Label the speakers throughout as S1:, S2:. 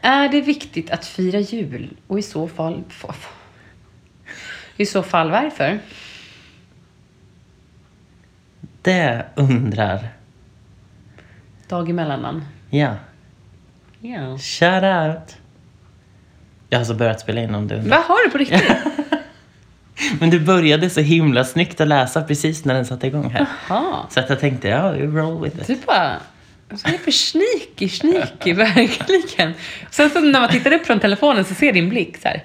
S1: Är det viktigt att fira jul? Och i så fall... f- f- I så fall varför?
S2: Det undrar
S1: Dag emellan.
S2: Ja.
S1: Ja.
S2: Shout out! Jag har alltså börjat spela in om du undrar.
S1: Vad har du på riktigt?
S2: Men du började så himla snyggt att läsa precis när den satte igång här.
S1: Jaha.
S2: Så att jag tänkte, ja, you roll with it.
S1: Du Typ bara... Så är det för sneaky, sneaky, verkligen. Sen så när man tittar upp från telefonen så ser din blick så här.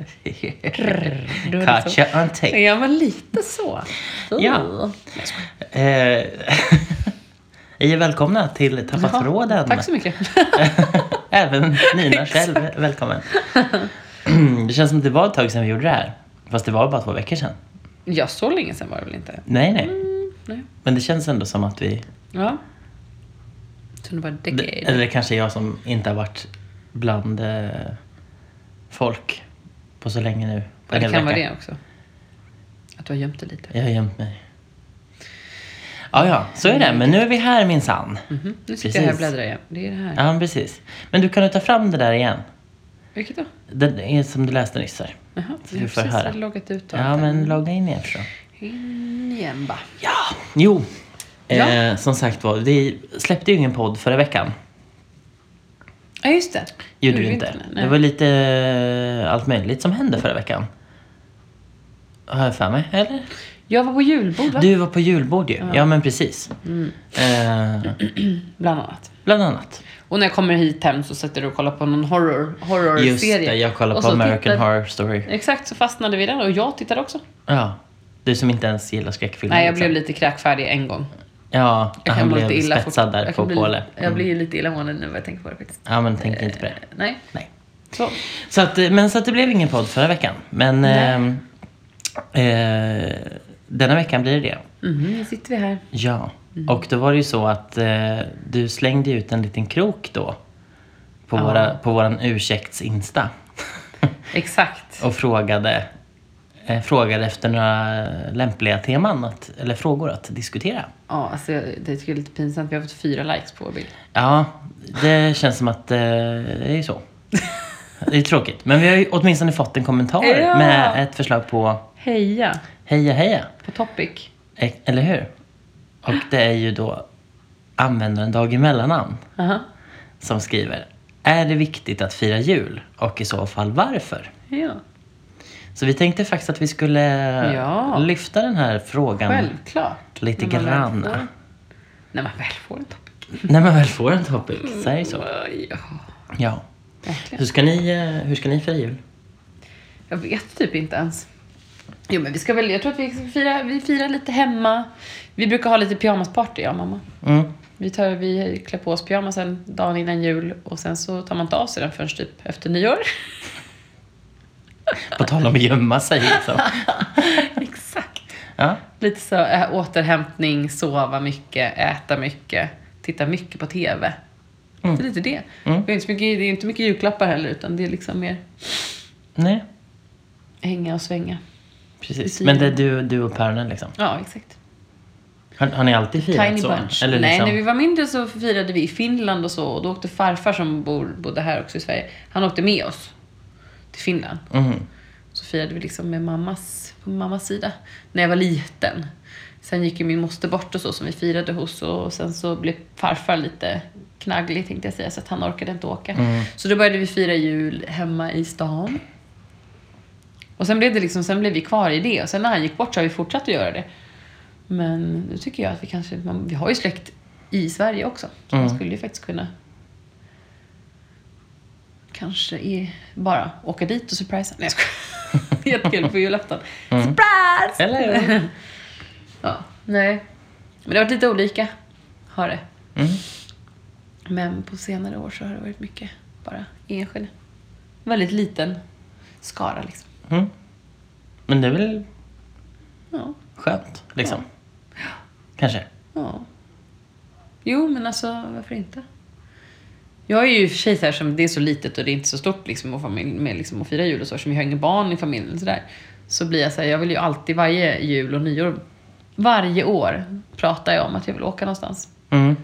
S1: Då är det så.
S2: Catcha on tape.
S1: Ja, men lite så.
S2: Ja. Eh, Ni är välkomna till Tappa
S1: Jaha.
S2: tråden.
S1: Tack så mycket.
S2: Även Nina
S1: Exakt.
S2: själv, välkommen. Mm, Det känns som att det var ett tag sedan vi gjorde det här. Fast det var bara två veckor sedan.
S1: Ja, så länge sedan var det väl inte?
S2: Nej, nej.
S1: Mm, Nej.
S2: Men det känns ändå som att vi...
S1: Ja. Så det var decade.
S2: Eller kanske jag som inte har varit bland eh, folk på så länge nu.
S1: Ja,
S2: På en
S1: det
S2: hel
S1: kan vara
S2: vecka.
S1: det också. Att du har gömt dig lite.
S2: Jag har gömt mig. Ja, ja, så är det. Men nu är vi här minsann.
S1: Mhm. Nu sitter
S2: Precis.
S1: jag här och bläddrar igen. Det är det här.
S2: Ja, men precis. Men du kan ju ta fram det där igen.
S1: Vilket då?
S2: Den är som du läste nyss här.
S1: Jaha,
S2: Så
S1: jag
S2: vi
S1: har
S2: får
S1: precis
S2: höra.
S1: loggat ut och
S2: Ja,
S1: allt
S2: men
S1: där.
S2: logga in igen så.
S1: In igen bara.
S2: Ja, jo.
S1: Ja.
S2: Eh, som sagt var, vi släppte ju ingen podd förra veckan.
S1: Ja, just det.
S2: Gjorde
S1: vi
S2: vi inte.
S1: Nej.
S2: Det var lite eh, allt möjligt som hände förra veckan. Har jag för mig, eller?
S1: Jag var på julbord, va? Mm.
S2: Du var på julbord ju. Ja, men precis. Eh,
S1: Bland annat.
S2: bland annat.
S1: Och när jag kommer hit hem så sätter du och kollar på någon horror, horrorserie.
S2: Just det, jag kollade
S1: Och
S2: på
S1: så
S2: American
S1: tittar-
S2: Horror Mm, Story.
S1: Exakt, så fastnade vi i den och jag tittade också.
S2: Ja. Du som inte ens gillar skräckfilmer.
S1: Nej, jag blev
S2: liksom.
S1: lite kräkfärdig en gång.
S2: Ja,
S1: Jag
S2: han
S1: må
S2: blev spetsad
S1: fort-
S2: där
S1: jag
S2: på
S1: kan bli-
S2: Påle.
S1: Jag blir ju lite illamående nu när jag tänker på det faktiskt. Eh,
S2: Ja, men tänk inte på det.
S1: Nej,
S2: Nej.
S1: så.
S2: Så att, eh, men så att det blev ingen podd förra veckan. Men ehm,
S1: Nej.
S2: eh, eh, denna veckan blir det.
S1: Mhm, nu sitter vi här.
S2: Ja.
S1: Mm.
S2: Och då var det ju så att eh, du slängde ut en liten krok då. På,
S1: Ja.
S2: våra, på våran ursäkts-insta.
S1: Exakt.
S2: och frågade, eh, frågade efter några lämpliga teman att, eller frågor att diskutera.
S1: Ja, alltså, jag- det tycker jag är lite pinsamt. Vi har fått fyra likes på vår bild.
S2: Ja, det känns som att eh, det är så. Det är tråkigt. Men vi har ju åtminstone fått en kommentar
S1: Ja.
S2: med ett förslag på
S1: Heja
S2: heja heja.
S1: på Topic.
S2: Eh, Eller hur? Och det är ju då användaren Dag Emellannamn
S1: Aha.
S2: som skriver Är det viktigt att fira jul? Och i så fall varför?
S1: Ja,
S2: Så vi tänkte faktiskt att vi skulle
S1: Ja.
S2: lyfta den här frågan
S1: självklart.
S2: lite
S1: När man väl
S2: grann.
S1: får en- När man väl får en topic.
S2: När man väl får en topic, så är det så.
S1: Mm. Ja,
S2: Ja.
S1: verkligen.
S2: Hur ska ni, eh, hur ska ni fira jul?
S1: Jag vet typ inte ens. Jo, men vi ska väl, jag tror att vi ska fira, vi firar lite hemma. Vi brukar ha lite pyjamasparty, jag och mamma.
S2: Mm.
S1: Vi, tar, vi klär på oss pyjamasen dagen innan jul och sen så tar man inte av sig den förrän typ efter nyår.
S2: På tal om att gömma sig liksom.
S1: Exakt.
S2: Ja.
S1: Lite så äh, återhämtning, sova mycket, äta mycket, titta mycket på TV. Det är lite det.
S2: Mm.
S1: Det, är inte så mycket, det är inte mycket julklappar heller utan det är liksom mer
S2: Nej,
S1: hänga och svänga.
S2: precis.
S1: Precis.
S2: Men det är du, du och päronen liksom.
S1: Ja, exakt.
S2: Har, har ni alltid firat
S1: Tiny
S2: så?
S1: bunch.
S2: Eller
S1: Nej,
S2: liksom,
S1: när vi var mindre så firade vi i Finland och så och då åkte farfar som bor, bodde här också i Sverige, han åkte med oss till Finland.
S2: Mhm.
S1: Så firade vi liksom med mammas, på mammas sida, när jag var liten. Sen gick ju min moster bort och så som vi firade hos och sen så blev farfar lite knagglig tänkte jag säga så att han orkade inte åka. Så då började vi fira jul hemma i stan. Och sen blev, det liksom, sen blev vi kvar i det och sen när han gick bort så har vi fortsatt att göra det. Men nu tycker jag att vi kanske, man, vi har ju släkt i Sverige också. Så man skulle ju faktiskt kunna kanske i, bara åka dit och surprisa. Nej jag skojar. Jättekul på julafton. Surprise!
S2: Eller hur?
S1: Ja, nej. Men det har varit lite olika. Har det.
S2: Mm.
S1: Men på senare år så har det varit mycket bara enskild. Väldigt liten skara liksom.
S2: Mm. Men det är väl
S1: Ja.
S2: skönt liksom? Kanske?
S1: Ja. Jo, men alltså varför inte? Jag är ju i och för sig så här som det är så litet och det är inte så stort liksom, och familj, med liksom, att fira jul och så, som vi har inga barn i familjen och sådär. Så blir jag så här, jag vill ju alltid varje jul och nyår, varje år pratar jag om att jag vill åka någonstans.
S2: Mm.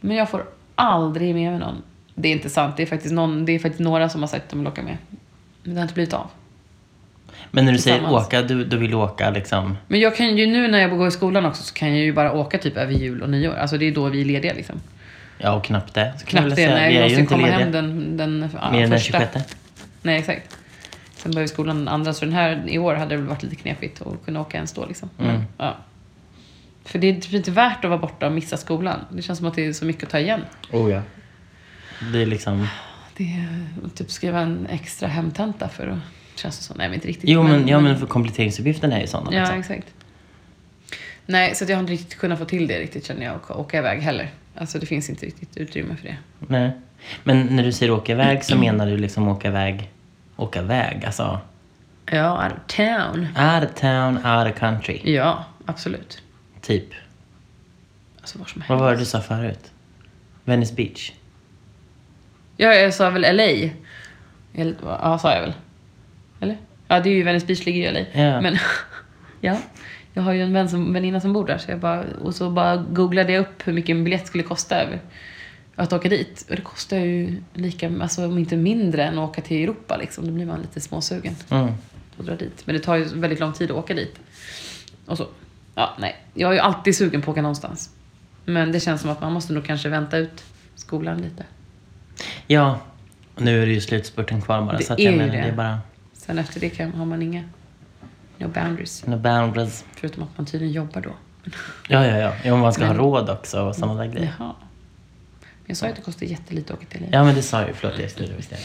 S1: Men jag får aldrig med mig någon. Det är inte sant. Det är faktiskt, någon, det är faktiskt några som har sagt att de vill åka med. Men det har inte blivit av.
S2: Men när du säger
S1: Tillsammans.
S2: åka, du, du vill åka liksom...
S1: Men jag kan ju nu när jag går i skolan också så kan jag ju bara åka typ över jul och nyår. Alltså det är då vi är lediga liksom.
S2: Ja, och knappt det. Så
S1: Knappt det. Nej,
S2: vi
S1: vi
S2: är ju
S1: måste
S2: inte
S1: komma hem
S2: lediga.
S1: den, den ja,
S2: Mer än den
S1: första.
S2: 26.
S1: Nej, exakt. Sen började skolan den andra, så den här i år hade det väl varit lite knepigt att kunna åka ens då. Liksom.
S2: Mm.
S1: Ja. För det är typ inte värt att vara borta och missa skolan. Det känns som att det är så mycket att ta igen.
S2: Oh ja. Det är liksom...
S1: Det är att typ skriva en extra hemtenta för att... Känns det som. Nej, men inte riktigt.
S2: Jo, men, ja, men för kompletteringsuppgiften är ju sådana.
S1: Ja,
S2: liksom.
S1: exakt. Nej, så att jag har inte riktigt kunnat få till det riktigt känner jag, och åka iväg heller. Alltså det finns inte riktigt utrymme för det.
S2: Nej. Men när du säger åka iväg så menar du liksom åka iväg... Åka iväg, alltså...
S1: Ja, out of town.
S2: Out of town, out of country.
S1: Ja, absolut.
S2: Typ.
S1: Alltså var som helst.
S2: Vad var det du sa förut? Venice Beach.
S1: Ja, jag sa väl LA. Eller- Ja, sa jag väl. Eller? Ja, det är ju Venice Beach ligger ju i LA.
S2: Ja.
S1: Men ja, jag har ju en vän som, väninna som bor där så jag bara, och så bara googlade jag upp hur mycket en biljett skulle kosta över att åka dit. Och det kostar ju lika, alltså om inte mindre än att åka till Europa liksom. Då blir man lite småsugen
S2: Mm.
S1: att dra dit. Men det tar ju väldigt lång tid att åka dit. Och så. Ja, nej. Jag är ju alltid sugen på att åka någonstans. Men det känns som att man måste nog kanske vänta ut skolan lite.
S2: Ja. Och nu är det ju slutspurten kvar bara.
S1: Det
S2: så att
S1: är
S2: jag
S1: ju
S2: menar,
S1: det.
S2: det är bara...
S1: Sen efter det kan, har man inga no boundaries.
S2: No boundaries.
S1: Förutom att man tydligen jobbar då.
S2: Ja, ja, ja. Jo, man ska
S1: Men-
S2: ha råd också och sådana där grejer.
S1: Jaha. Men jag sa ju att det kostar jättelite att åka till LA.
S2: Ja, men det sa jag ju. Förlåt, jag styrde visst jag.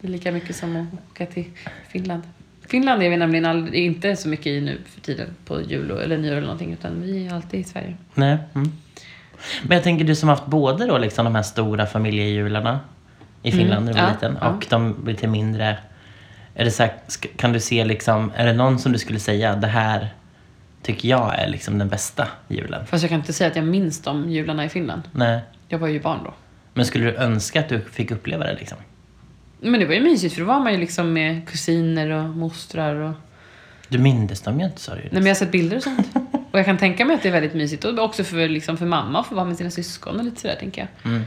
S1: Det är lika mycket som att åka till Finland. Finland är vi nämligen aldrig, inte så mycket i nu för tiden på jul och, eller nyår eller någonting utan vi är alltid i Sverige.
S2: Nej. Mm. Men jag tänker du som haft både då liksom de här stora familjejularna i Finland när du var
S1: Mm. Ja,
S2: liten
S1: ja.
S2: och de lite mindre. Är det så här, sk- kan du se liksom, är det någon som du skulle säga det här tycker jag är liksom den bästa julen?
S1: Fast jag kan inte säga att jag minns de jularna i Finland.
S2: Nej.
S1: Jag var ju barn då.
S2: Men skulle du önska att du fick uppleva det liksom?
S1: Men det var ju mysigt för då var man ju liksom med kusiner och mostrar och
S2: Du mindes dem ju inte sa du ju.
S1: Nej, men jag har sett bilder och sånt. Och jag kan tänka mig att det är väldigt mysigt. Och också för, liksom, för mamma att få vara med sina syskon och lite sådär, tänker jag.
S2: Mm.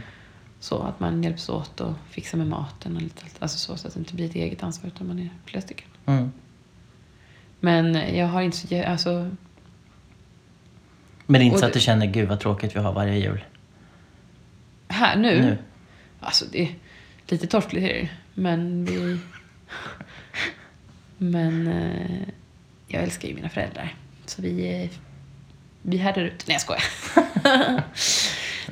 S1: Så att man hjälps åt och fixar med maten och lite allt. Alltså så, så att det inte blir ett eget ansvar utan man är flera stycken.
S2: Mm.
S1: Men jag har inte så... jag- Alltså,
S2: Men det är inte
S1: Och
S2: så att
S1: det-
S2: du känner gud vad tråkigt vi har varje jul?
S1: här nu.
S2: Nu?
S1: Alltså det är lite torftigt är det ju, Men vi... Men eh, jag älskar ju mina föräldrar. Så vi... eh, Vi härdar ut. Nej, jag skojar.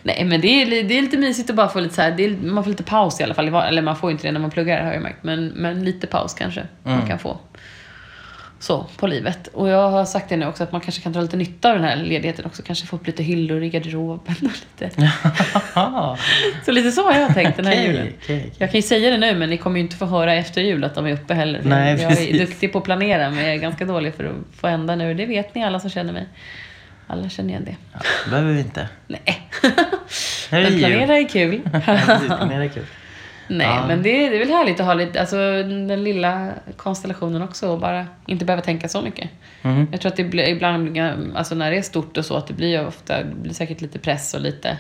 S1: Nej, men det är, li- det är lite mysigt att bara få lite så här, det är, man får lite paus i alla fall. i var- Eller man får ju inte det när man pluggar har jag märkt. Men, men lite paus kanske man kan få. Så, på livet. Och jag har sagt det nu också att man kanske kan dra lite nytta av den här ledigheten också. Kanske få upp lite hyllor i garderoben och lite. Så lite så har jag tänkt den här
S2: Okej,
S1: julen.
S2: okej.
S1: Jag kan ju säga det nu, men ni kommer ju inte få höra efter jul att de är uppe heller.
S2: Nej,
S1: jag
S2: precis.
S1: är duktig på att planera, men jag är ganska dålig för att få ända nu. Det vet ni alla som känner mig. Alla känner igen det.
S2: Ja, det behöver vi inte.
S1: Nej.
S2: Nu är det
S1: Men
S2: jul.
S1: planera är kul.
S2: Ja, precis, planera är kul.
S1: Nej,
S2: Ja.
S1: men det är, det är väl härligt att ha lite, alltså, den lilla konstellationen också och bara inte behöva tänka så mycket.
S2: Mm.
S1: Jag tror att det blir, ibland, alltså när det är stort och så, att det blir ju ofta, det blir säkert lite press och lite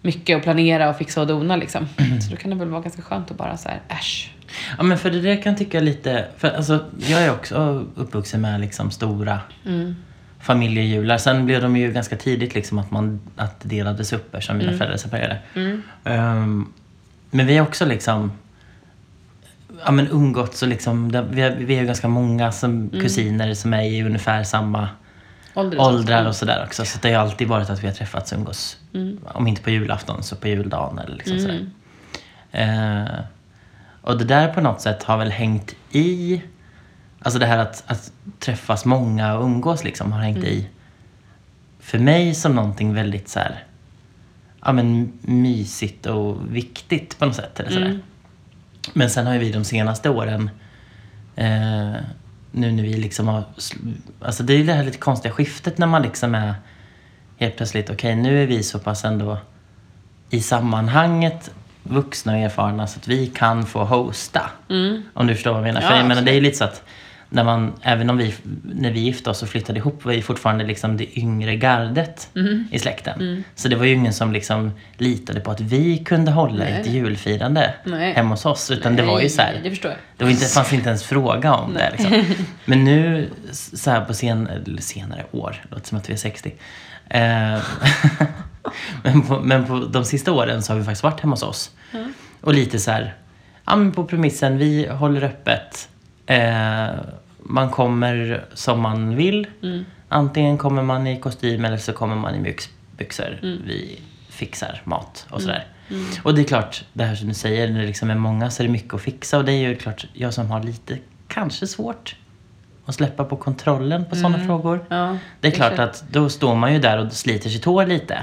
S1: mycket att planera och fixa och dona liksom.
S2: Mm.
S1: Så då kan det väl vara ganska skönt att bara så här, äsch.
S2: Ja men för det där kan jag tycka lite, för alltså jag är också uppvuxen med liksom stora familjejular. Sen blev de ju ganska tidigt liksom att man att det delades upp eftersom mina föräldrar separerade. Ehm, men vi har också liksom ja, men umgåtts och liksom, det- vi, har, vi är ju ganska många som, kusiner som är i ungefär samma
S1: Ålder och sånt.
S2: åldrar och sådär också. Så det har ju alltid varit att vi har träffats och umgås. Om inte på julafton så på juldagen eller liksom sådär. Eh, och det där på något sätt har väl hängt i. Alltså det här att, att träffas många och umgås liksom har hängt i. För mig som någonting väldigt så här, ja men mysigt och viktigt på något sätt. Eller sådär. Men sen har ju vi de senaste åren eh, nu när vi liksom har... sl- Alltså det är ju det här lite konstiga skiftet när man liksom är helt plötsligt, okej nu är vi så pass ändå i sammanhanget vuxna och erfarna så att vi kan få hosta. Om du förstår vad jag menar.
S1: Ja,
S2: För jag menar,
S1: absolut.
S2: det är ju lite så att när man, även om vi, när vi gifte oss och flyttade ihop var vi fortfarande liksom det yngre gardet
S1: Mm.
S2: i släkten. Så det var ju ingen som liksom litade på att vi kunde hålla ett julfirande
S1: Nej.
S2: hemma hos oss. Utan det var ju så här,
S1: Nej, Det förstår jag.
S2: det var inte, fanns inte ens fråga om det. Liksom. Men nu s- så här på sen, eller senare år, det låter som att vi är 60. Eh, men, på, men på de sista åren så har vi faktiskt varit hemma hos oss. Och lite så här, ja men på premissen, vi håller öppet. Eh, man kommer som man vill. Antingen kommer man i kostym eller så kommer man i mjukisbyxor. Vi fixar mat och sådär. Och det är klart, det här som du säger, när det liksom är många så är det mycket att fixa. Och det är ju klart, jag som har lite, kanske svårt att släppa på kontrollen på sådana frågor.
S1: Ja,
S2: Det är
S1: det är
S2: klart
S1: klart.
S2: att då står man ju där och sliter sitt hår lite.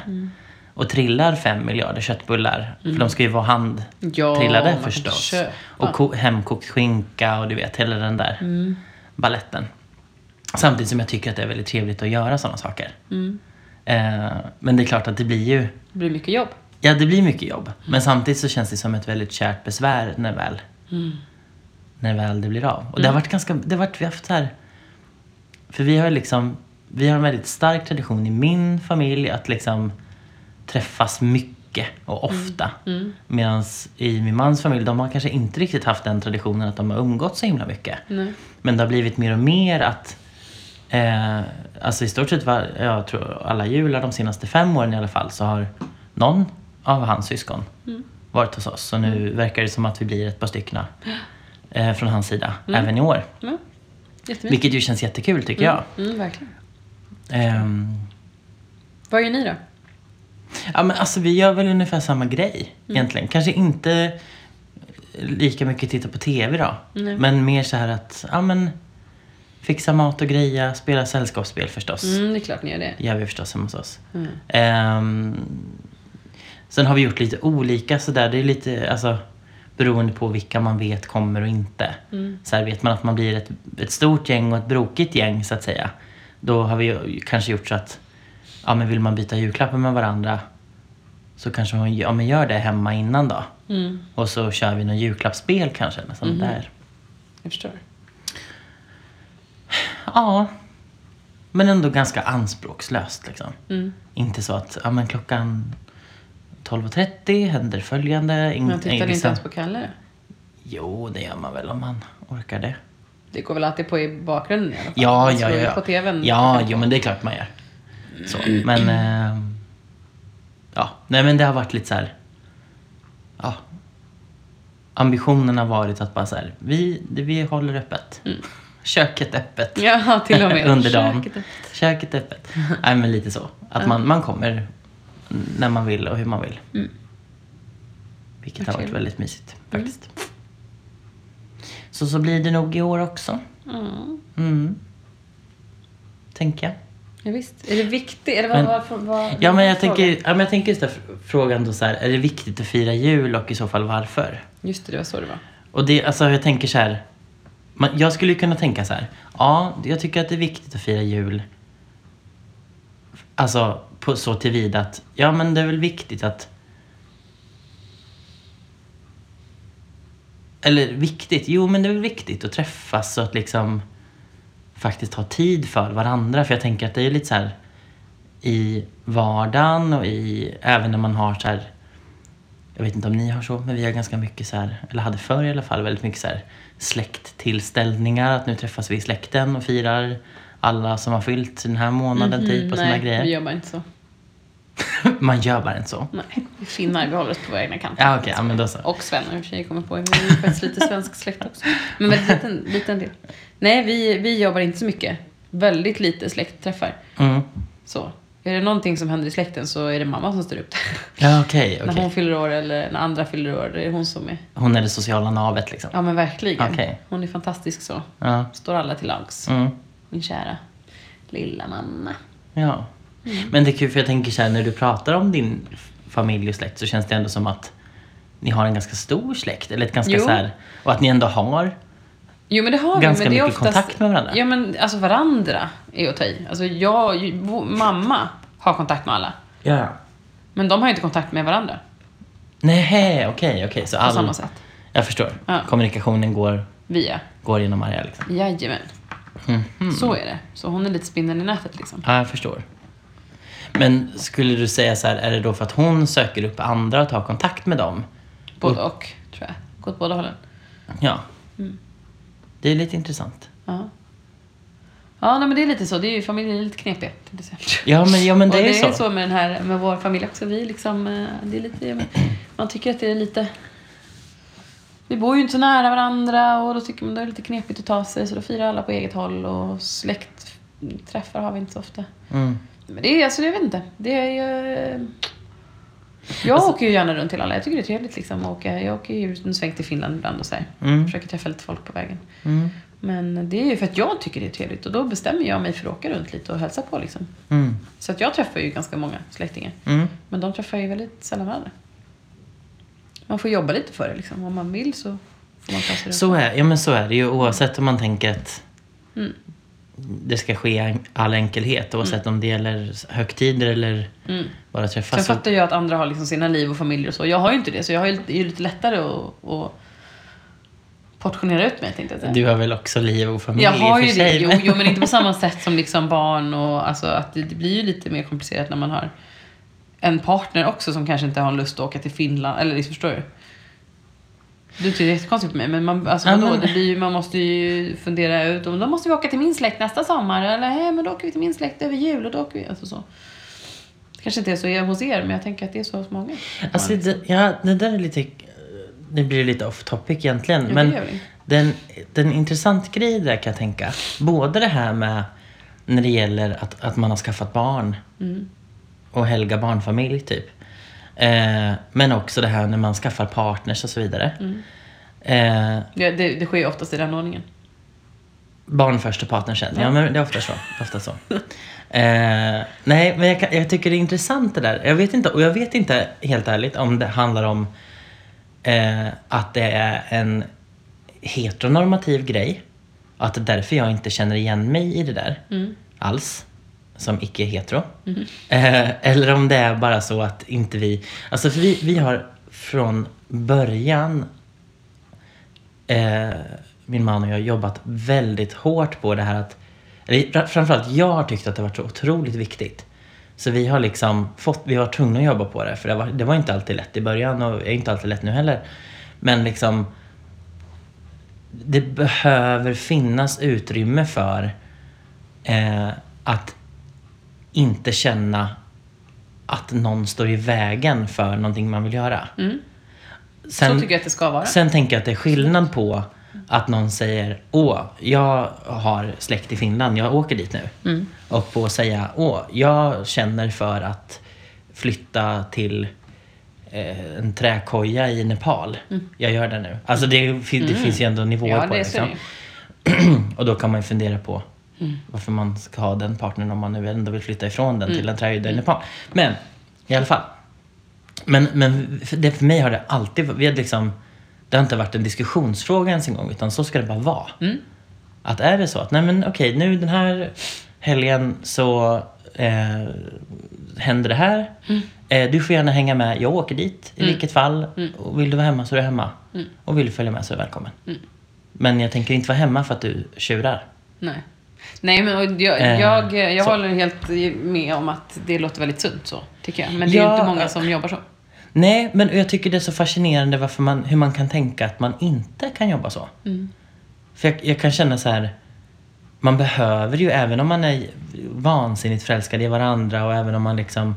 S2: Och trillar fem miljarder köttbullar. För de ska ju vara handtrillade
S1: man kan
S2: förstås.
S1: köpa.
S2: Och ko- hemkokt skinka och du vet, hela den där
S1: Mm.
S2: balletten. Samtidigt som jag tycker att det är väldigt trevligt att göra sådana saker.
S1: Mm.
S2: Eh, men det är klart att det blir ju
S1: Det blir mycket jobb.
S2: Ja, det blir mycket jobb. Men samtidigt så känns det som ett väldigt kärt besvär när väl,
S1: Mm.
S2: när väl det blir av. Och det har varit ganska, det har varit, vi har haft så här, för vi har liksom, vi har en väldigt stark tradition i min familj att liksom träffas mycket och ofta.
S1: Mm.
S2: Medan i min mans familj, de har kanske inte riktigt haft den traditionen att de har umgått så himla mycket.
S1: Nej.
S2: Men det har blivit mer och mer att eh, Alltså i stort sett var, jag tror alla jular de senaste fem åren i alla fall så har någon av hans syskon
S1: Mm.
S2: varit hos oss. Så nu verkar det som att vi blir ett par stycken eh, från hans sida även i år.
S1: Ja. Jättemycket.
S2: Vilket ju känns jättekul tycker jag.
S1: Mm. Mm, verkligen.
S2: Ehm,
S1: Vad gör ni då?
S2: Ja men alltså vi gör väl ungefär samma grej
S1: Mm.
S2: egentligen. Kanske inte lika mycket titta på TV då.
S1: Nej.
S2: Men mer så här att, ja men fixa mat och greja, spela sällskapsspel förstås.
S1: Mm, det är klart ni gör det.
S2: gör vi förstås hemma hos oss.
S1: Mm.
S2: Ehm, sen har vi gjort lite olika sådär. Det är lite alltså, beroende på vilka man vet kommer och inte. Så här, vet man att man blir ett, ett stort gäng och ett brokigt gäng så att säga. Då har vi ju kanske gjort så att ja, men vill man byta julklappar med varandra så kanske man ja, men gör det hemma innan då.
S1: Mm,
S2: Och så kör vi något julklappsspel kanske. Nästan där.
S1: jag förstår.
S2: Mm, Ja. Men ändå ganska anspråkslöst liksom.
S1: Mm.
S2: Inte så att ja, men klockan 12.30 händer följande. In,
S1: Men jag tittade
S2: liksom-
S1: inte ens på kallare.
S2: Jo, det gör man väl om man orkar det.
S1: Det går väl alltid på i bakgrunden i alla fall.
S2: Ja,
S1: Man
S2: ja,
S1: slår ju
S2: ja.
S1: på tvn.
S2: Ja, jo, men det är klart man gör. Så, men... Eh, ja, nej men det har varit lite så här... Ja. Ambitionen har varit att bara så här, vi, det- vi håller öppet.
S1: Mm.
S2: Köket öppet.
S1: Ja, till och med.
S2: Under dagen.
S1: Köket.
S2: Köket öppet. Nej, men lite så. Att man, man kommer när man vill och hur man vill. Vilket har varit
S1: trevligt.
S2: väldigt mysigt faktiskt. Så så blir det nog i år också.
S1: Mm.
S2: Mm. Tänker jag.
S1: Ja, visst. Är det viktigt? Eller vad,
S2: Men-
S1: vad, vad,
S2: Ja, men jag
S1: frågan?
S2: tänker, ja, men jag tänker just den här frågan då så här, är det viktigt att fira jul och i så fall varför?
S1: Just det, det var så det var.
S2: Och det, alltså jag tänker så här. Man, jag skulle ju kunna tänka så här. Ja, jag tycker att det är viktigt att fira jul. Alltså, på, så tillvida att, ja men det är väl viktigt att... Eller viktigt, jo men det är väl viktigt att träffas och att liksom faktiskt ha tid för varandra. För jag tänker att det är lite så här i vardagen och i, även när man har så här jag vet inte om ni har så, men vi har ganska mycket så här, eller hade förr i alla fall, väldigt mycket så här släkttillställningar. Att nu träffas vi i släkten och firar alla som har fyllt den här månaden typ och sådana
S1: Mm, Mm-hmm, Nej,
S2: grejer.
S1: vi gör bara inte så.
S2: Man gör bara inte så.
S1: Nej, vi finnar, vi håller oss på våra egna kanter.
S2: Ja okej, ja, men då så.
S1: Och svenner i och för sig, jag kommer på. Men vi är faktiskt lite svensk släkt också. Men väldigt liten, liten del. Nej, vi, vi jobbar inte så mycket. Väldigt lite släktträffar.
S2: Mm.
S1: Så. Är det någonting som händer i släkten så är det mamma som står upp det.
S2: Ja okej, okej.
S1: När hon fyller år eller när andra fyller år, det är hon som är...
S2: Hon är det sociala navet liksom.
S1: Ja men verkligen.
S2: Okej.
S1: Hon är fantastisk så.
S2: Ja.
S1: Står alla till lags.
S2: Mm.
S1: Min kära lilla mamma.
S2: Ja.
S1: Mm.
S2: Men det är kul för jag tänker så här när du pratar om din familj och släkt så känns det ändå som att ni har en ganska stor släkt. Eller ett ganska
S1: Jo.
S2: så här, och att ni ändå har
S1: Jo men det har
S2: Ganska
S1: vi, men det är
S2: mycket
S1: oftast,
S2: kontakt med varandra.
S1: Ja men alltså varandra är att ta i. Alltså jag, ju- vår mamma har kontakt med alla.
S2: Ja.
S1: Men de har ju inte kontakt med varandra
S2: Nej, okej, okej. Så
S1: på
S2: all...
S1: samma sätt.
S2: Jag förstår.
S1: Ja.
S2: Kommunikationen går,
S1: Via.
S2: går genom Maria liksom.
S1: Jajamän.
S2: Mhm.
S1: Så är det. Så hon är lite spindeln i nätet liksom.
S2: Ja, jag förstår. Men skulle du säga så här, är det då för att hon söker upp andra och tar kontakt med dem? Mm.
S1: Både och, tror jag. Går åt båda hållen.
S2: Ja.
S1: Mm.
S2: Det är lite intressant.
S1: Ja. Ja, nej, men det är lite så. Det är ju, familjen är lite knepig. tänkte jag säga.
S2: Ja, men, ja, men det,
S1: och
S2: är ju
S1: det är
S2: så.
S1: så med, den här, med vår familj också. Vi liksom, eh, det är lite, man tycker att det är lite... Vi bor ju inte så nära varandra och då tycker man det är lite knepigt att ta sig så då firar alla på eget håll och släktträffar har vi inte så ofta.
S2: Mm.
S1: Men det är, alltså jag vet inte. Det är ju... Jag
S2: Alltså-
S1: åker ju gärna runt till alla. Jag tycker det är trevligt liksom att åka. Jag åker ju ut en sväng till Finland ibland och så här.
S2: Mm.
S1: Försöker träffa lite folk på vägen.
S2: Mm.
S1: Men det är ju för att jag tycker det är trevligt och då bestämmer jag mig för att åka runt lite och hälsa på liksom.
S2: Mm.
S1: Så att jag träffar ju ganska många släktingar.
S2: Mm.
S1: Men de träffar ju väldigt sällan varandra. Man får jobba lite för det liksom. Om man vill så får man ta sig runt.
S2: Så, är, ja, men så är det ju oavsett om man tänker att
S1: Mm.
S2: det ska ske i all enkelhet. Oavsett om det gäller högtider eller
S1: Mm.
S2: bara
S1: Sen
S2: träffas.
S1: fattar jag att andra har liksom sina liv och familjer och så. Jag har ju inte det så jag har ju det är ju lite lättare att, att portionera ut mig tänkte jag säga.
S2: Du har väl också liv och familj
S1: Jag har
S2: i och
S1: ju
S2: för sig.
S1: det, jo,
S2: men-
S1: jo men inte på samma sätt som liksom barn och alltså att det, det blir ju lite mer komplicerat när man har en partner också som kanske inte har lust att åka till Finland, eller liksom förstår du? Du tycker det är jättekonstigt på mig men man, alltså,
S2: Ja,
S1: vadå,
S2: men-
S1: det blir ju, man måste ju fundera ut om då måste vi åka till min släkt nästa sommar eller hej men då åker vi till min släkt över jul och då åker vi, alltså så. Det kanske inte är så hos er men jag tänker att det är så hos många.
S2: Alltså, det, ja, det där är lite... Det blir lite off topic egentligen.
S1: det
S2: men
S1: gör det.
S2: den, den intressant grej där kan jag tänka. Både det här med när det gäller att, att man har skaffat barn
S1: Mm.
S2: och helga barnfamilj typ. Eh, men också det här när man skaffar partners och så vidare.
S1: Mm.
S2: Eh,
S1: Ja, det, det sker ju oftast i den ordningen.
S2: Barn först och partner sen. Ja, men det är ofta så. Ofta så. Eh, nej, men jag, kan, jag tycker det är intressant det där. Jag vet inte, och jag vet inte helt ärligt om det handlar om eh, att det är en heteronormativ grej. Att det är därför jag inte känner igen mig i det där alls. Som icke-hetero. Eh, eller om det är bara så att inte vi... Alltså för vi, vi har från början eh, min man och jag har jobbat väldigt hårt på det här att, eller fra- framförallt jag har tyckt att det har varit så otroligt viktigt. Så vi har liksom fått, vi var tvungna att jobba på det för det var, det var inte alltid lätt i början och är inte alltid lätt nu heller. Men liksom, det behöver finnas utrymme för eh, att inte känna att någon står i vägen för någonting man vill göra. Sen-
S1: Mm. så tycker jag att det ska vara.
S2: Sen tänker jag att det är skillnad på att någon säger Åh, jag har släkt i Finland, jag åker dit nu.
S1: Mm.
S2: Och på att säga Åh, jag känner för att flytta till eh, en träkoja i Nepal. Jag gör det nu. Alltså det, fin- det finns ju ändå nivåer
S1: Mm. Ja,
S2: på det.
S1: det ser
S2: Liksom.
S1: ni.
S2: Och då kan man ju fundera på varför man ska ha den partnern om man nu ändå vill flytta ifrån den till en trädgård i Nepal. Men i alla fall. Men, men för, det, för mig har det alltid vi har liksom, Det har inte varit en diskussionsfråga ens en gång utan så ska det bara vara. Att är det så att nej men okej nu den här helgen så eh, händer det här. Eh, du får gärna hänga med. Jag åker dit i vilket fall. Och vill du vara hemma så är du hemma. Och vill du följa med så är du välkommen. Men jag tänker inte vara hemma för att du tjurar.
S1: Nej. Nej, men och jag,
S2: Eh,
S1: jag, jag
S2: så.
S1: håller helt med om att det låter väldigt sunt så, tycker jag. Men det är ju
S2: Ja,
S1: inte många
S2: eh.
S1: som jobbar så.
S2: Nej, men jag tycker det är så fascinerande varför man, hur man kan tänka att man inte kan jobba så. För jag, jag kan känna så här, man behöver ju, även om man är vansinnigt förälskad i varandra och även om man liksom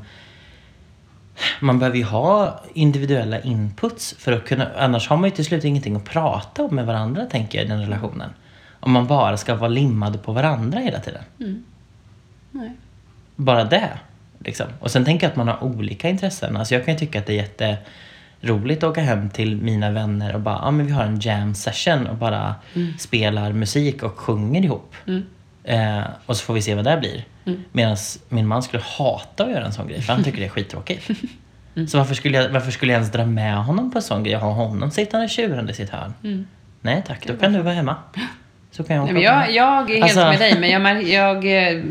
S2: man behöver ju ha individuella inputs för att kunna, annars har man ju till slut ingenting att prata om med varandra tänker jag i den relationen. Om man bara ska vara limmad på varandra hela tiden.
S1: Nej.
S2: bara det. Liksom. Och sen tänker jag att man har olika intressen. Alltså jag kan ju tycka att det är jätteroligt att åka hem till mina vänner och bara, ja ah, men vi har en jam session och bara
S1: Mm.
S2: spelar musik och sjunger ihop. Eh, och så får vi se vad det blir.
S1: Mm.
S2: Medan min man skulle hata att göra en sån grej för han tycker det är skittråkigt.
S1: Mm.
S2: Så varför skulle, jag, varför skulle jag ens dra med honom på en sån grej och ha honom sittande tjurande i sitt hörn?
S1: Mm.
S2: Nej tack, då kan du vara hemma. Så kan jag åka
S1: Nej, men
S2: på
S1: jag, jag är helt
S2: Alltså-
S1: med dig, men jag, mär- jag eh,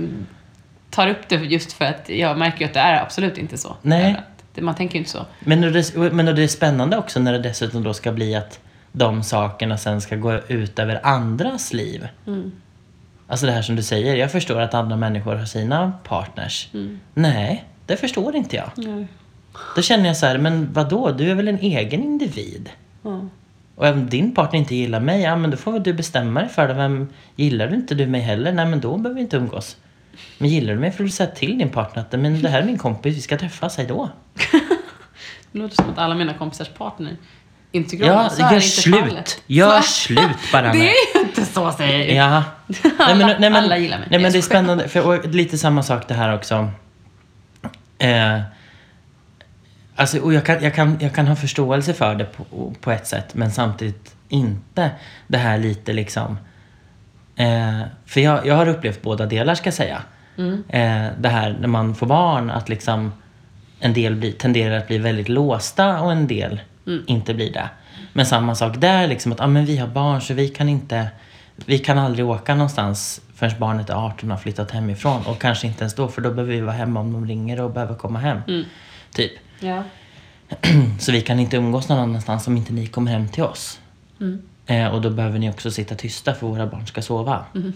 S1: tar upp det just för att jag märker ju att det är absolut inte så.
S2: Nej.
S1: Eller att det- Man tänker ju inte så.
S2: Men, och det, men och det är spännande också när det dessutom då ska bli att de sakerna sen ska gå ut över andras liv. Alltså det här som du säger, jag förstår att andra människor har sina partners. Nej, det förstår inte jag.
S1: Nej.
S2: Då känner jag så här, men vadå, du är väl en egen individ?
S1: Ja.
S2: Och om din partner inte gillar mig, ja men då får väl du bestämma dig för det. Vem, gillar du inte du mig heller, nej men då behöver vi inte umgås. Men gillar du mig får du säga till din partner att men det här är min kompis, vi ska träffas, hej då.
S1: Det låter som att alla mina kompisars partner inte tycker om
S2: Ja,
S1: mig. Så är
S2: gör
S1: inte
S2: slut!
S1: fallet.
S2: Gör
S1: Så-
S2: slut bara
S1: Det
S2: med.
S1: är ju inte så säger jag.
S2: Ja.
S1: Alla- alla gillar mig.
S2: Nej, men det är
S1: Jag skojar.
S2: spännande. För, och lite samma sak det här också. Eh, alltså, och jag, kan, jag, kan, jag kan ha förståelse för det på, på ett sätt, men samtidigt inte. Det här lite liksom... Eh, för jag, jag har upplevt båda delar, ska jag säga. Eh, det här när man får barn, att liksom en del blir, tenderar att bli väldigt låsta och en del inte blir det. Men samma sak där, liksom att ah, men vi har barn så vi kan inte vi kan aldrig åka någonstans förrän barnet är 18 och har flyttat hemifrån. Och kanske inte ens då, för då behöver vi vara hemma om de ringer och behöver komma hem. Typ.
S1: Ja.
S2: Så vi kan inte umgås någon annanstans om inte ni kommer hem till oss.
S1: Mm.
S2: Eh, och då behöver ni också sitta tysta för våra barn ska sova.
S1: Mm.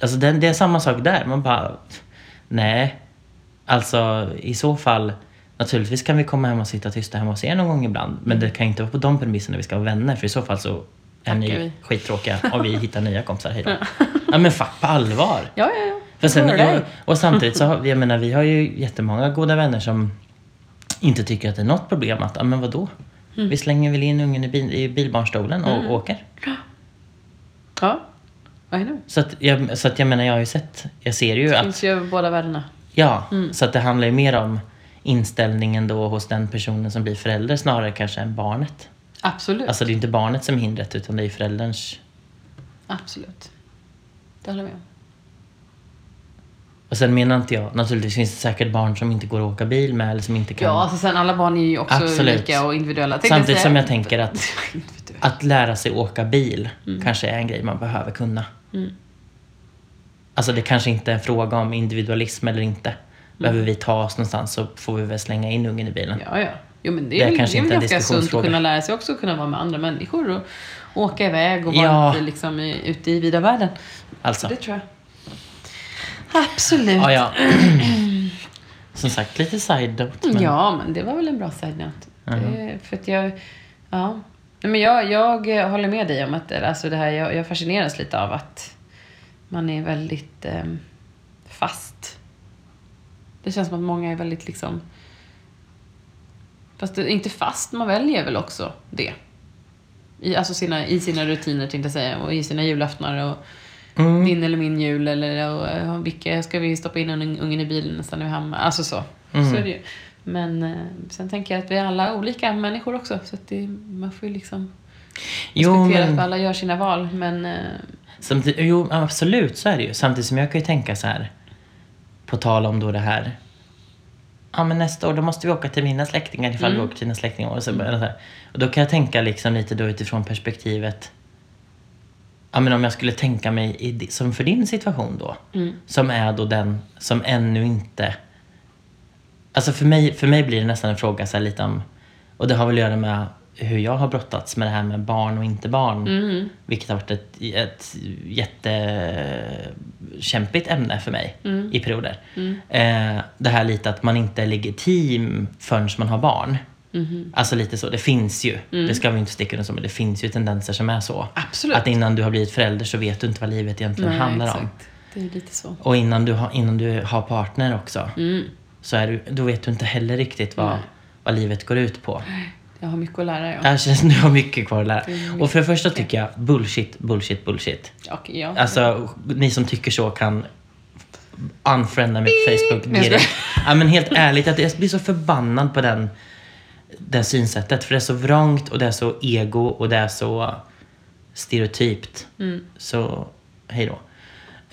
S2: Alltså det, det är samma sak där. Man bara, nej. Alltså i så fall, naturligtvis kan vi komma hem och sitta tysta hemma hos er någon gång ibland. Men det kan inte vara på de premisserna vi ska vara vänner för i så fall så är
S1: Tackar
S2: ni
S1: vi.
S2: skittråkiga och vi hittar nya kompisar. Hejdå. ja men fuck, på allvar.
S1: Ja, ja, ja.
S2: För sen,
S1: Hör
S2: jag,
S1: dig.
S2: och samtidigt så har, jag menar, vi har ju jättemånga goda vänner som inte tycker att det är något problem att, ja men vadå?
S1: Mm.
S2: Vi slänger väl in ungen i, bil, i bilbarnstolen och åker.
S1: Ja, I know.
S2: Så att, jag, så att jag menar, jag har ju sett, jag ser ju att,
S1: Finns ju över båda världarna.
S2: ja,
S1: Mm.
S2: så att det handlar ju mer om inställningen då hos den personen som blir förälder snarare kanske än barnet.
S1: Absolut.
S2: Alltså det är ju inte barnet som är hindret utan det är ju förälderns.
S1: Absolut. Det håller jag med om.
S2: Och sen menar inte jag, naturligtvis finns det säkert barn som inte går att åka bil med eller som inte kan.
S1: Ja, alltså sen alla barn är ju också
S2: Absolut.
S1: unika och individuella. Tänkte
S2: Samtidigt
S1: säga-
S2: som jag tänker att
S1: Individuella.
S2: Att lära sig åka bil kanske är en grej man behöver kunna. Alltså det kanske inte är en fråga om individualism eller inte. Behöver vi ta oss någonstans så får vi väl slänga in ungen i bilen.
S1: Ja, ja. Jo, men det
S2: Det
S1: är,
S2: är
S1: väl- det
S2: kanske
S1: är väl
S2: inte en
S1: ganska sunt att
S2: diskussionsfråga.
S1: kunna lära sig också att kunna vara med andra människor och åka iväg och vara
S2: Ja.
S1: lite liksom i, ute i vida världen.
S2: Alltså,
S1: Det tror jag. Absolut.
S2: ja, ja. Som sagt, lite side note. Men
S1: Ja, men det var väl en bra side note. Det- För att jag, ja. Nej, men jag, jag håller med dig om att alltså det här, jag, jag fascineras lite av att man är väldigt eh, fast. Det känns som att många är väldigt liksom... Fast det är inte fast, man väljer väl också det. I, alltså sina, i sina rutiner tänkte jag säga, och i sina julaftnar och
S2: Mm.
S1: din eller min jul eller och, och, vilka ska vi stoppa in ungen ungen i bilen nästan nu hemma? Alltså så.
S2: Mm.
S1: så är det ju. Men eh, sen tänker jag att vi är alla olika människor också så att det, man får ju liksom
S2: jo,
S1: respektera
S2: men,
S1: att alla gör sina val men eh,
S2: samtidigt, jo, absolut så är det ju. Samtidigt som jag kan ju tänka så här, på tal om då det här. Ja, men nästa år då måste vi åka till mina släktingar ifall vi åker till dina släktingar. Och, så, bara så här. och då kan jag tänka liksom lite då utifrån perspektivet Ja, men om jag skulle tänka mig i, di- som för din situation då. Som är då den som ännu inte... Alltså för mig, för mig blir det nästan en fråga så här lite om... Och det har väl att göra med hur jag har brottats med det här med barn och inte barn.
S1: mm.
S2: Vilket har varit ett, ett jättekämpigt ämne för mig
S1: Mm.
S2: i perioder. Eh, det här lite att man inte är legitim förrän man har barn.
S1: Mm-hmm.
S2: Alltså lite så, det finns ju. Det ska vi inte sticka under som, men det finns ju tendenser som är så.
S1: Mm. Absolut.
S2: Att innan du har blivit förälder så vet du inte vad livet egentligen
S1: nej,
S2: handlar om.
S1: exakt. Det är lite så. Mm.
S2: Och innan du, har, innan du har partner också, så är du, då vet du inte heller riktigt vad, vad livet går ut på.
S1: Jag har mycket att lära ja.
S2: Jag känner att du har mycket kvar att lära. Och för det första tycker jag, bullshit, bullshit, bullshit.
S1: Okej, ja.
S2: Alltså, ni som tycker så kan unfrienda mig på Facebook
S1: Nej, jag
S2: direkt. Ja, men helt ärligt, att jag blir så förbannad på den, det synsättet. För det är så vrångt och det är så ego och det är så stereotypt.
S1: Mm.
S2: Så, hej då.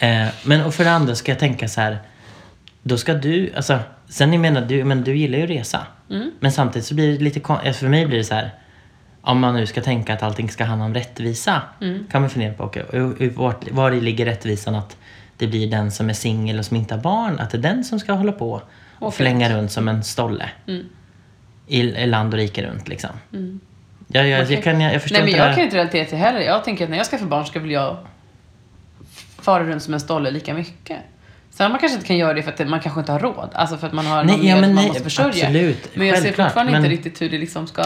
S2: Eh, men och för det andra ska jag tänka så här. Då ska du, alltså, sen jag menar du, men du gillar ju att resa.
S1: Mm.
S2: Men samtidigt så blir det lite kon- alltså för mig blir det så här. Om man nu ska tänka att allting ska handla om rättvisa.
S1: Mm.
S2: Kan man fundera på, okay, och- och vart, var i ligger rättvisan att det blir den som är singel och som inte har barn, att det är den som ska hålla på och
S1: Och
S2: flänga runt som en stolle.
S1: Mm.
S2: I, I land och rike runt liksom. Jag, jag, jag, kan, jag, jag förstår
S1: Nej men
S2: inte det
S1: jag
S2: här.
S1: kan ju inte relatera till det heller. Jag tänker att när jag skaffar barn ska väl jag fara runt som en stolle lika mycket. Sen man kanske inte kan göra det för att man kanske inte har råd. Alltså för att man har någon
S2: Nej, ja,
S1: mer
S2: men
S1: som man
S2: nej,
S1: måste försörja.
S2: absolut.
S1: Men jag ser
S2: Självklart,
S1: fortfarande
S2: men-
S1: inte riktigt hur det liksom ska...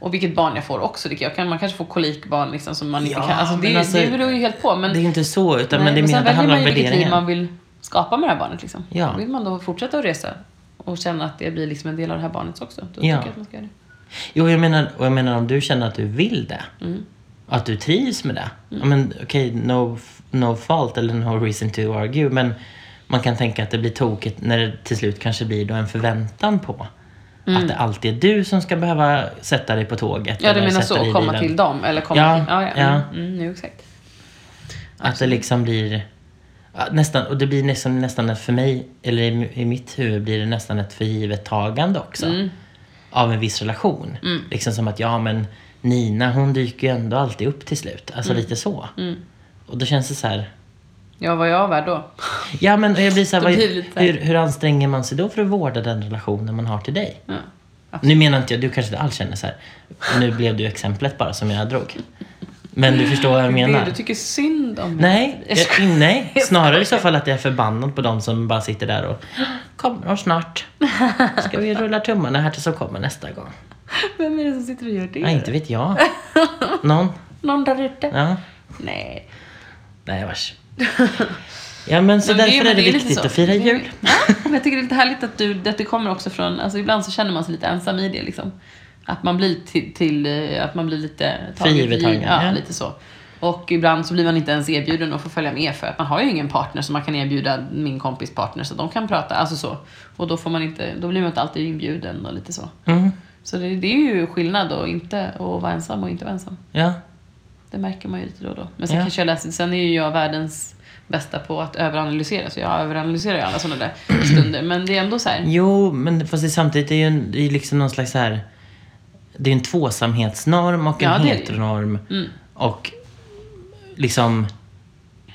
S1: Och vilket barn jag får också. tycker Jag kan, man kanske får kolikbarn liksom som man inte
S2: Ja,
S1: kan... Alltså det,
S2: men alltså-
S1: det beror ju helt på. Men,
S2: Det är ju inte så, utan
S1: nej,
S2: men det, men
S1: sen
S2: det handlar om
S1: väljer man ju vilket liv
S2: värderingar.
S1: man vill skapa med det här barnet. Liksom.
S2: Ja.
S1: Vill man då fortsätta att resa och känna att det blir liksom en del av det här barnet också, då tycker
S2: Ja.
S1: jag att man ska göra det.
S2: Jo, jag menar, och jag menar om du känner att du vill det.
S1: Mm.
S2: Att du trivs med det. Ja, men okej, no, f- no fault eller no reason to argue. Men man kan tänka att det blir tokigt när det till slut kanske blir då en förväntan på att det alltid är du som ska behöva sätta dig på tåget.
S1: Mm. Ja, du
S2: eller
S1: menar
S2: sätta dig
S1: så.
S2: i
S1: Komma
S2: bilen.
S1: till dem eller komma
S2: Ja,
S1: till... Ja, ja.
S2: ja.
S1: Mm, mm, jo, exakt.
S2: Att det liksom blir ja, nästan, och det blir nästan, nästan ett för mig, eller i, i mitt huvud blir det nästan ett förgivettagande också.
S1: Mm.
S2: Av en viss relation. Liksom som att, ja men Nina hon dyker ju ändå alltid upp till slut. Alltså
S1: Mm.
S2: lite så. Och då känns det så här,
S1: Ja, vad jag är värd då.
S2: ja men och jag blir så här,
S1: Då
S2: vad,
S1: blir det lite så här.
S2: hur, hur anstränger man sig då för att vårda den relationen man har till dig?
S1: Ja.
S2: Nu menar inte jag, du kanske inte alls känner så här. Nu blev du exemplet bara som jag drog. Men du förstår vad jag menar.
S1: Det du tycker synd om mig.
S2: Nej,
S1: Jag
S2: jag, nej. snarare i så fall att jag är förbannad på de som bara sitter där och kommer de snart. Ska vi rulla tummarna här tills de kommer nästa gång?
S1: Vem är det som sitter och gör det?
S2: Nej, inte vet jag. Någon?
S1: Någon där ute?
S2: Ja.
S1: Nej.
S2: Nej, vars. Ja, men så
S1: Men
S2: därför
S1: men
S2: är det
S1: lite
S2: viktigt
S1: så.
S2: att fira
S1: Det är-
S2: jul.
S1: Ja, men jag tycker det är lite härligt att, du, att det kommer också från, alltså ibland så känner man sig lite ensam i det liksom. Att man blir till, till eh, att man blir lite tagen
S2: För givet tagen,
S1: ja,
S2: ja.
S1: lite så. Och ibland så blir man inte ens erbjuden att få följa med för att man har ju ingen partner som man kan erbjuda min kompis partner så de kan prata, alltså så. Och då får man inte, då blir man inte alltid inbjuden och lite så.
S2: Mm,
S1: Så det, det är ju skillnad då, inte att vara ensam och inte vara ensam.
S2: ja.
S1: Det märker man ju lite då och då. Men sen
S2: Ja.
S1: kanske jag läser, sen är ju jag världens bästa på att överanalysera, så jag överanalyserar ju alla sådana där stunder. Men det är ändå så här,
S2: Jo, men fast det är samtidigt det är ju en, det är liksom någon slags så här... Det är en tvåsamhetsnorm och en
S1: Ja, det är det ju. Mm.
S2: heteronorm. Och liksom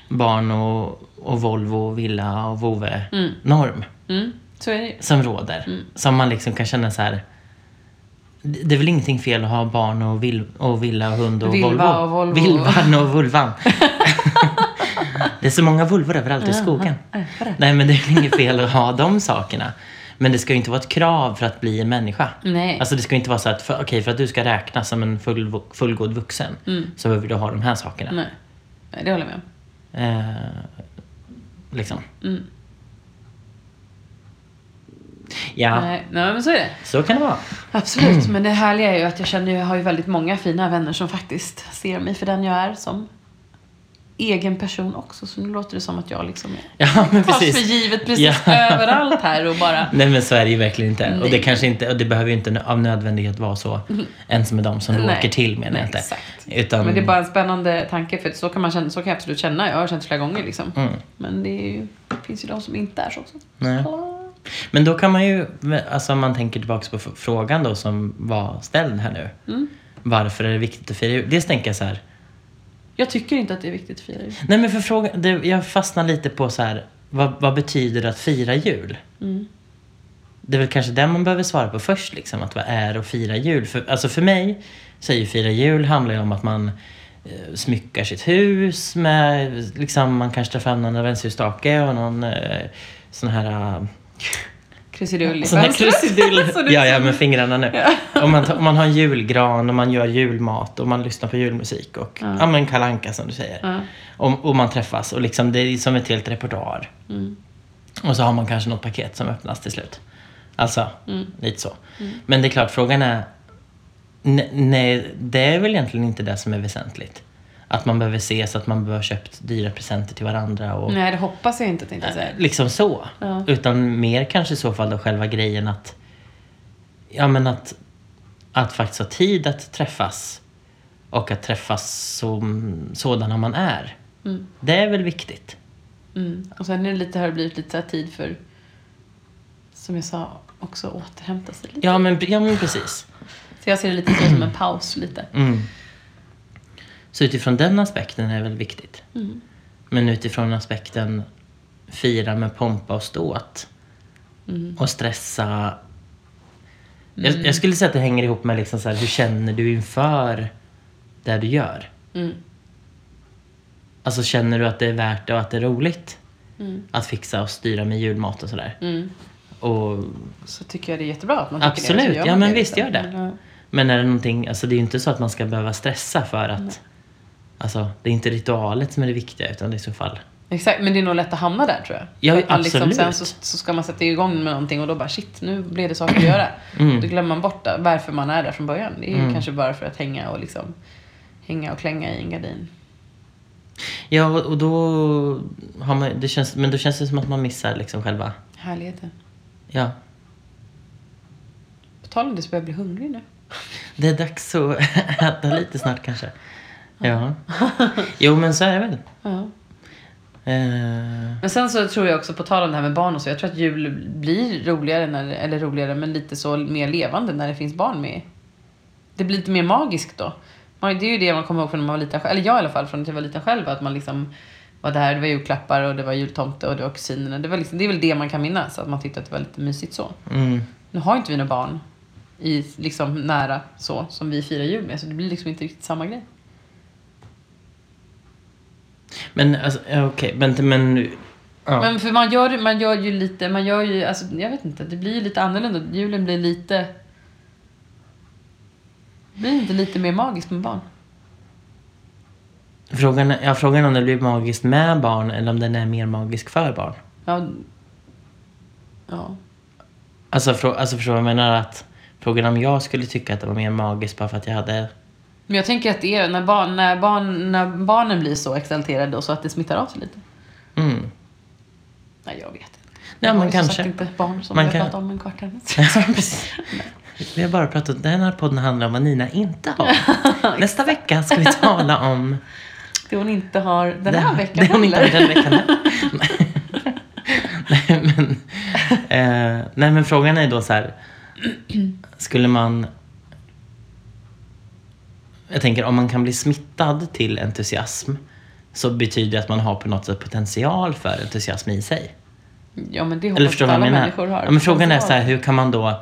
S2: barn och, och Volvo och villa och vovve-norm
S1: mm, så är det ju.
S2: som råder.
S1: Mm.
S2: Som man liksom kan känna så här... Det det är väl ingenting fel att ha barn och, vil, och villa och hund och
S1: Vilva
S2: Volvo.
S1: och Volvo.
S2: Vilvan och vulvan. det är så många vulvor överallt i skogen. Nej, men det är väl inget fel att ha de sakerna. Men det ska ju inte vara ett krav för att bli en människa.
S1: Nej.
S2: Alltså det ska ju inte vara så att för, okej, för att du ska räknas som en full, fullgod vuxen
S1: Mm.
S2: så behöver du ha de här sakerna.
S1: Nej. Nej, det håller jag med om. Mm.
S2: Eh, liksom. Ja,
S1: Nej, nej, men så är det.
S2: så kan det vara.
S1: Absolut, men det härliga är ju att jag känner, jag har ju väldigt många fina vänner som faktiskt ser mig för den jag är som egen person också. Så nu låter det som att jag liksom är
S2: Ja, men
S1: tas för
S2: precis.
S1: givet precis
S2: Ja.
S1: överallt här och bara
S2: Nej men så är det ju verkligen inte. Och det
S1: Nej. Mm-hmm.
S2: kanske inte, och det behöver ju inte nö- av nödvändighet vara så. Ens med de som du
S1: Nej.
S2: åker till menar
S1: Nej,
S2: jag inte.
S1: exakt.
S2: Utan,
S1: Men det är bara en spännande tanke för så kan, man känna, så kan jag absolut känna. Jag har känt flera gånger liksom.
S2: Mm.
S1: Men det, är ju, det finns ju de som inte är så också.
S2: Nej. Men då kan man ju, alltså om man tänker tillbaka på f- frågan då som var ställd här nu.
S1: Mm.
S2: Varför är det viktigt att fira jul? Dels tänker jag så här,
S1: Jag tycker inte att det är viktigt att fira jul.
S2: Nej men för frågan, det, jag fastnar lite på så här, vad, vad betyder det att fira jul?
S1: Mm.
S2: Det är väl kanske det man behöver svara på först, liksom, att vad är att fira jul? För, alltså för mig så är ju fira jul handlar ju om att man eh, smyckar sitt hus med, liksom, man kanske tar fram någon adventsljusstake och någon eh, sån här eh,
S1: Krusidull i
S2: Sån här
S1: fönstret.
S2: krusidull.
S1: Så liksom- det-
S2: ja, ja, med fingrarna nu. Om, man tar, om man har en julgran och man gör julmat och man lyssnar på julmusik och ja. men Kalle Anka som du säger.
S1: Ja.
S2: Och, och man träffas och liksom, det är som ett helt repertoar. Och så har man kanske något paket som öppnas till slut. Alltså, lite så. Men det är klart, frågan är ne- Nej, det är väl egentligen inte det som är väsentligt. Att man behöver ses, att man behöver ha köpt dyra presenter till varandra och
S1: Nej, det hoppas jag inte tänkte jag säga.
S2: liksom så.
S1: Ja.
S2: Utan mer kanske i så fall då själva grejen att ja men att att faktiskt ha tid att träffas och att träffas som sådana man är. Det är väl viktigt.
S1: Mm. Och sen är det lite, har det blivit lite så här tid för, som jag sa, också återhämta sig lite.
S2: Ja men, ja, men precis.
S1: Så jag ser det lite så som en paus lite.
S2: Mm. Så utifrån den aspekten är det väl viktigt. Men utifrån aspekten fira med pompa och ståt och stressa. Jag, jag skulle säga att det hänger ihop med liksom så
S1: Mm.
S2: här, hur känner du inför det du gör. Alltså känner du att det är värt det och att det är roligt att fixa och styra med julmat och sådär. Och,
S1: Mm. Så tycker jag det är jättebra att man tycker det.
S2: absolut,
S1: så gör
S2: ja
S1: man
S2: men
S1: det
S2: visst
S1: liksom.
S2: gör det. Men är det någonting, alltså det är ju inte så att man ska behöva stressa för att Alltså det är inte ritualet som är det viktiga utan det är i så fall
S1: Exakt, men det är nog lätt att hamna där tror jag.
S2: Ja,
S1: För att man liksom
S2: absolut.
S1: sen så, så ska man sätta igång med någonting och då bara shit, nu blev det saker att göra.
S2: Mm.
S1: Då glömmer man bort det, varför man är där från början. Det är ju kanske bara för att hänga och liksom hänga och klänga i en gardin.
S2: Ja, och och då har man, det känns, men då känns det som att man missar liksom själva,
S1: Härligheten.
S2: ja.
S1: På tal om det så börjar jag bli hungrig nu.
S2: Det är dags att äta lite snart kanske. Ja. Jo, men så är det väl.
S1: Ja.
S2: Eh,
S1: Men sen så tror jag också, på tal om det här med barn och så, jag tror att jul blir roligare, när, eller roligare, men lite så mer levande när det finns barn med. Det blir lite mer magiskt då. Man, det är ju det man kommer ihåg från när man var liten, själv- eller jag i alla fall, från att jag var liten själv, att man liksom var där, det var julklappar och det var jultomte och det var kusinerna. Det, var liksom, det är väl det man kan minnas, att man tyckte att det var lite mysigt så.
S2: mm.
S1: Nu har ju inte vi några barn i, liksom, nära så, som vi firar jul med, så det blir liksom inte riktigt samma grej.
S2: Men alltså, ja, okej, men, men, ja.
S1: Men för man gör, man gör ju lite, man gör ju, alltså, jag vet inte, det blir ju lite annorlunda. Julen blir lite... Blir inte lite mer magiskt med barn?
S2: Frågan, är- ja, frågan är om det blir magiskt med barn eller om den är mer magisk för barn.
S1: Ja. Ja.
S2: Alltså, frå, alltså förstår du vad jag menar? Att, frågan om jag skulle tycka att det var mer magiskt bara för att jag hade...
S1: Men jag tänker att det är när, barn, när, barn, när barnen blir så exalterade och så att det smittar av sig lite.
S2: Mm.
S1: Nej, jag vet inte.
S2: Nej,
S1: Jag har
S2: men
S1: ju som
S2: kanske.
S1: sagt inte barn som
S2: Man
S1: jag
S2: kan-
S1: pratar om en kvart här.
S2: Precis. Vi har bara pratat, den här podden handlar om vad Nina inte har. Nästa vecka ska vi tala om
S1: Det hon inte har den här veckan
S2: det hon inte har
S1: heller.
S2: den veckan heller. nej, men, eh, nej men frågan är då så här. Skulle man... Jag tänker om man kan bli smittad till entusiasm så betyder det att man har på något sätt potential för entusiasm i sig.
S1: Ja, men det
S2: Eller
S1: hoppas
S2: förstår
S1: jag
S2: du vad
S1: alla
S2: jag
S1: människor
S2: menar?
S1: har.
S2: Ja, men frågan är så här, hur kan man då...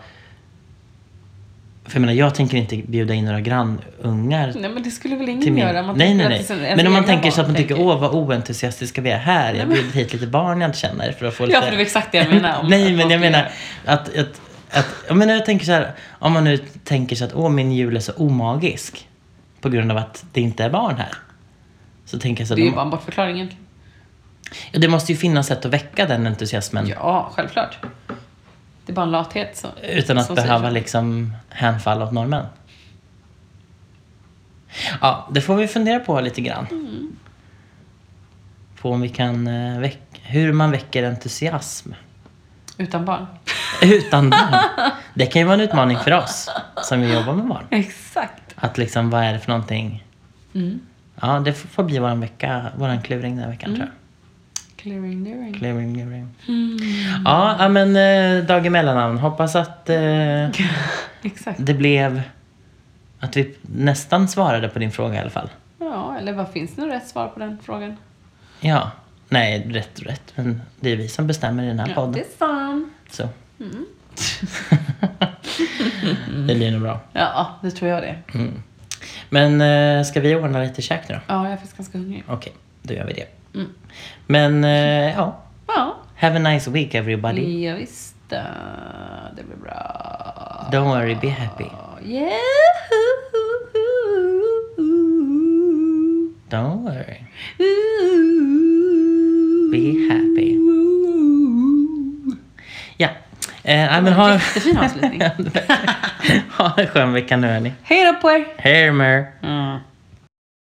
S2: För jag menar, jag tänker inte bjuda in några grannungar
S1: Nej, men det skulle väl
S2: till
S1: ingen
S2: min...
S1: Mm, göra? Man
S2: nej,
S1: tänker
S2: nej,
S1: att
S2: nej.
S1: det är Alltså, ens
S2: men om man
S1: egna
S2: tänker så
S1: barn
S2: att man tycker,
S1: tänker.
S2: åh vad oentusiastiska vi är här. Jag bjuder hit lite barn jag inte känner för att få lite...
S1: Ja, för det var exakt det jag menar. om
S2: nej,
S1: att man
S2: men jag
S1: skulle
S2: menar
S1: göra.
S2: att... att, att jag, menar, jag tänker så här, om man nu tänker sig att, åh min jul är så omagisk. På grund av att det inte är barn här. Så tänker jag så
S1: Det är ju
S2: här,
S1: bara en bortförklaring egentligen.
S2: det, det måste ju finnas sätt att väcka den entusiasmen.
S1: Ja, självklart. Det är bara en lathet. Så,
S2: Utan att
S1: som säger
S2: behöva
S1: så.
S2: liksom hänfalla åt normen. Ja, det får vi fundera på lite grann. På om vi kan eh, väck- hur man väcker entusiasm
S1: Utan barn.
S2: utan barn. Det kan ju vara en utmaning för oss som ju jobbar med barn.
S1: Exakt.
S2: Att liksom, vad är det för någonting?
S1: Mm.
S2: Ja, det får får bli våran vecka, våran kluring den här veckan tror jag.
S1: Mm. Clearing, clearing.
S2: Kluring, kluring.
S1: Mm.
S2: Ja, ja, men eh, dag emellanamn. Hoppas att eh,
S1: Exakt.
S2: Det blev att vi nästan svarade på din fråga i alla fall.
S1: Ja, eller vad finns det något rätt svar på den frågan?
S2: Ja. Nej, rätt och rätt. Men det är vi som bestämmer i den här
S1: Ja, Mm. det
S2: podden.
S1: är sant.
S2: Så. det blir nog bra.
S1: Ja, det tror jag det.
S2: Mm. Men eh, ska vi ordna lite käk nu då?
S1: Ja, jag är faktiskt ganska hungrig.
S2: Okej, då gör vi det.
S1: Mm.
S2: Men eh, ja,
S1: Ja,
S2: have a nice week everybody.
S1: ja visst. äh, Det blir bra.
S2: Don't worry, be happy.
S1: Yeah.
S2: Don't worry. Be happy. Ja, eh, nej, men ha,
S1: Jättefin avslutning.
S2: ha en skön vecka nu hörni.
S1: Hej då på er!
S2: Hej mer.
S1: Mm.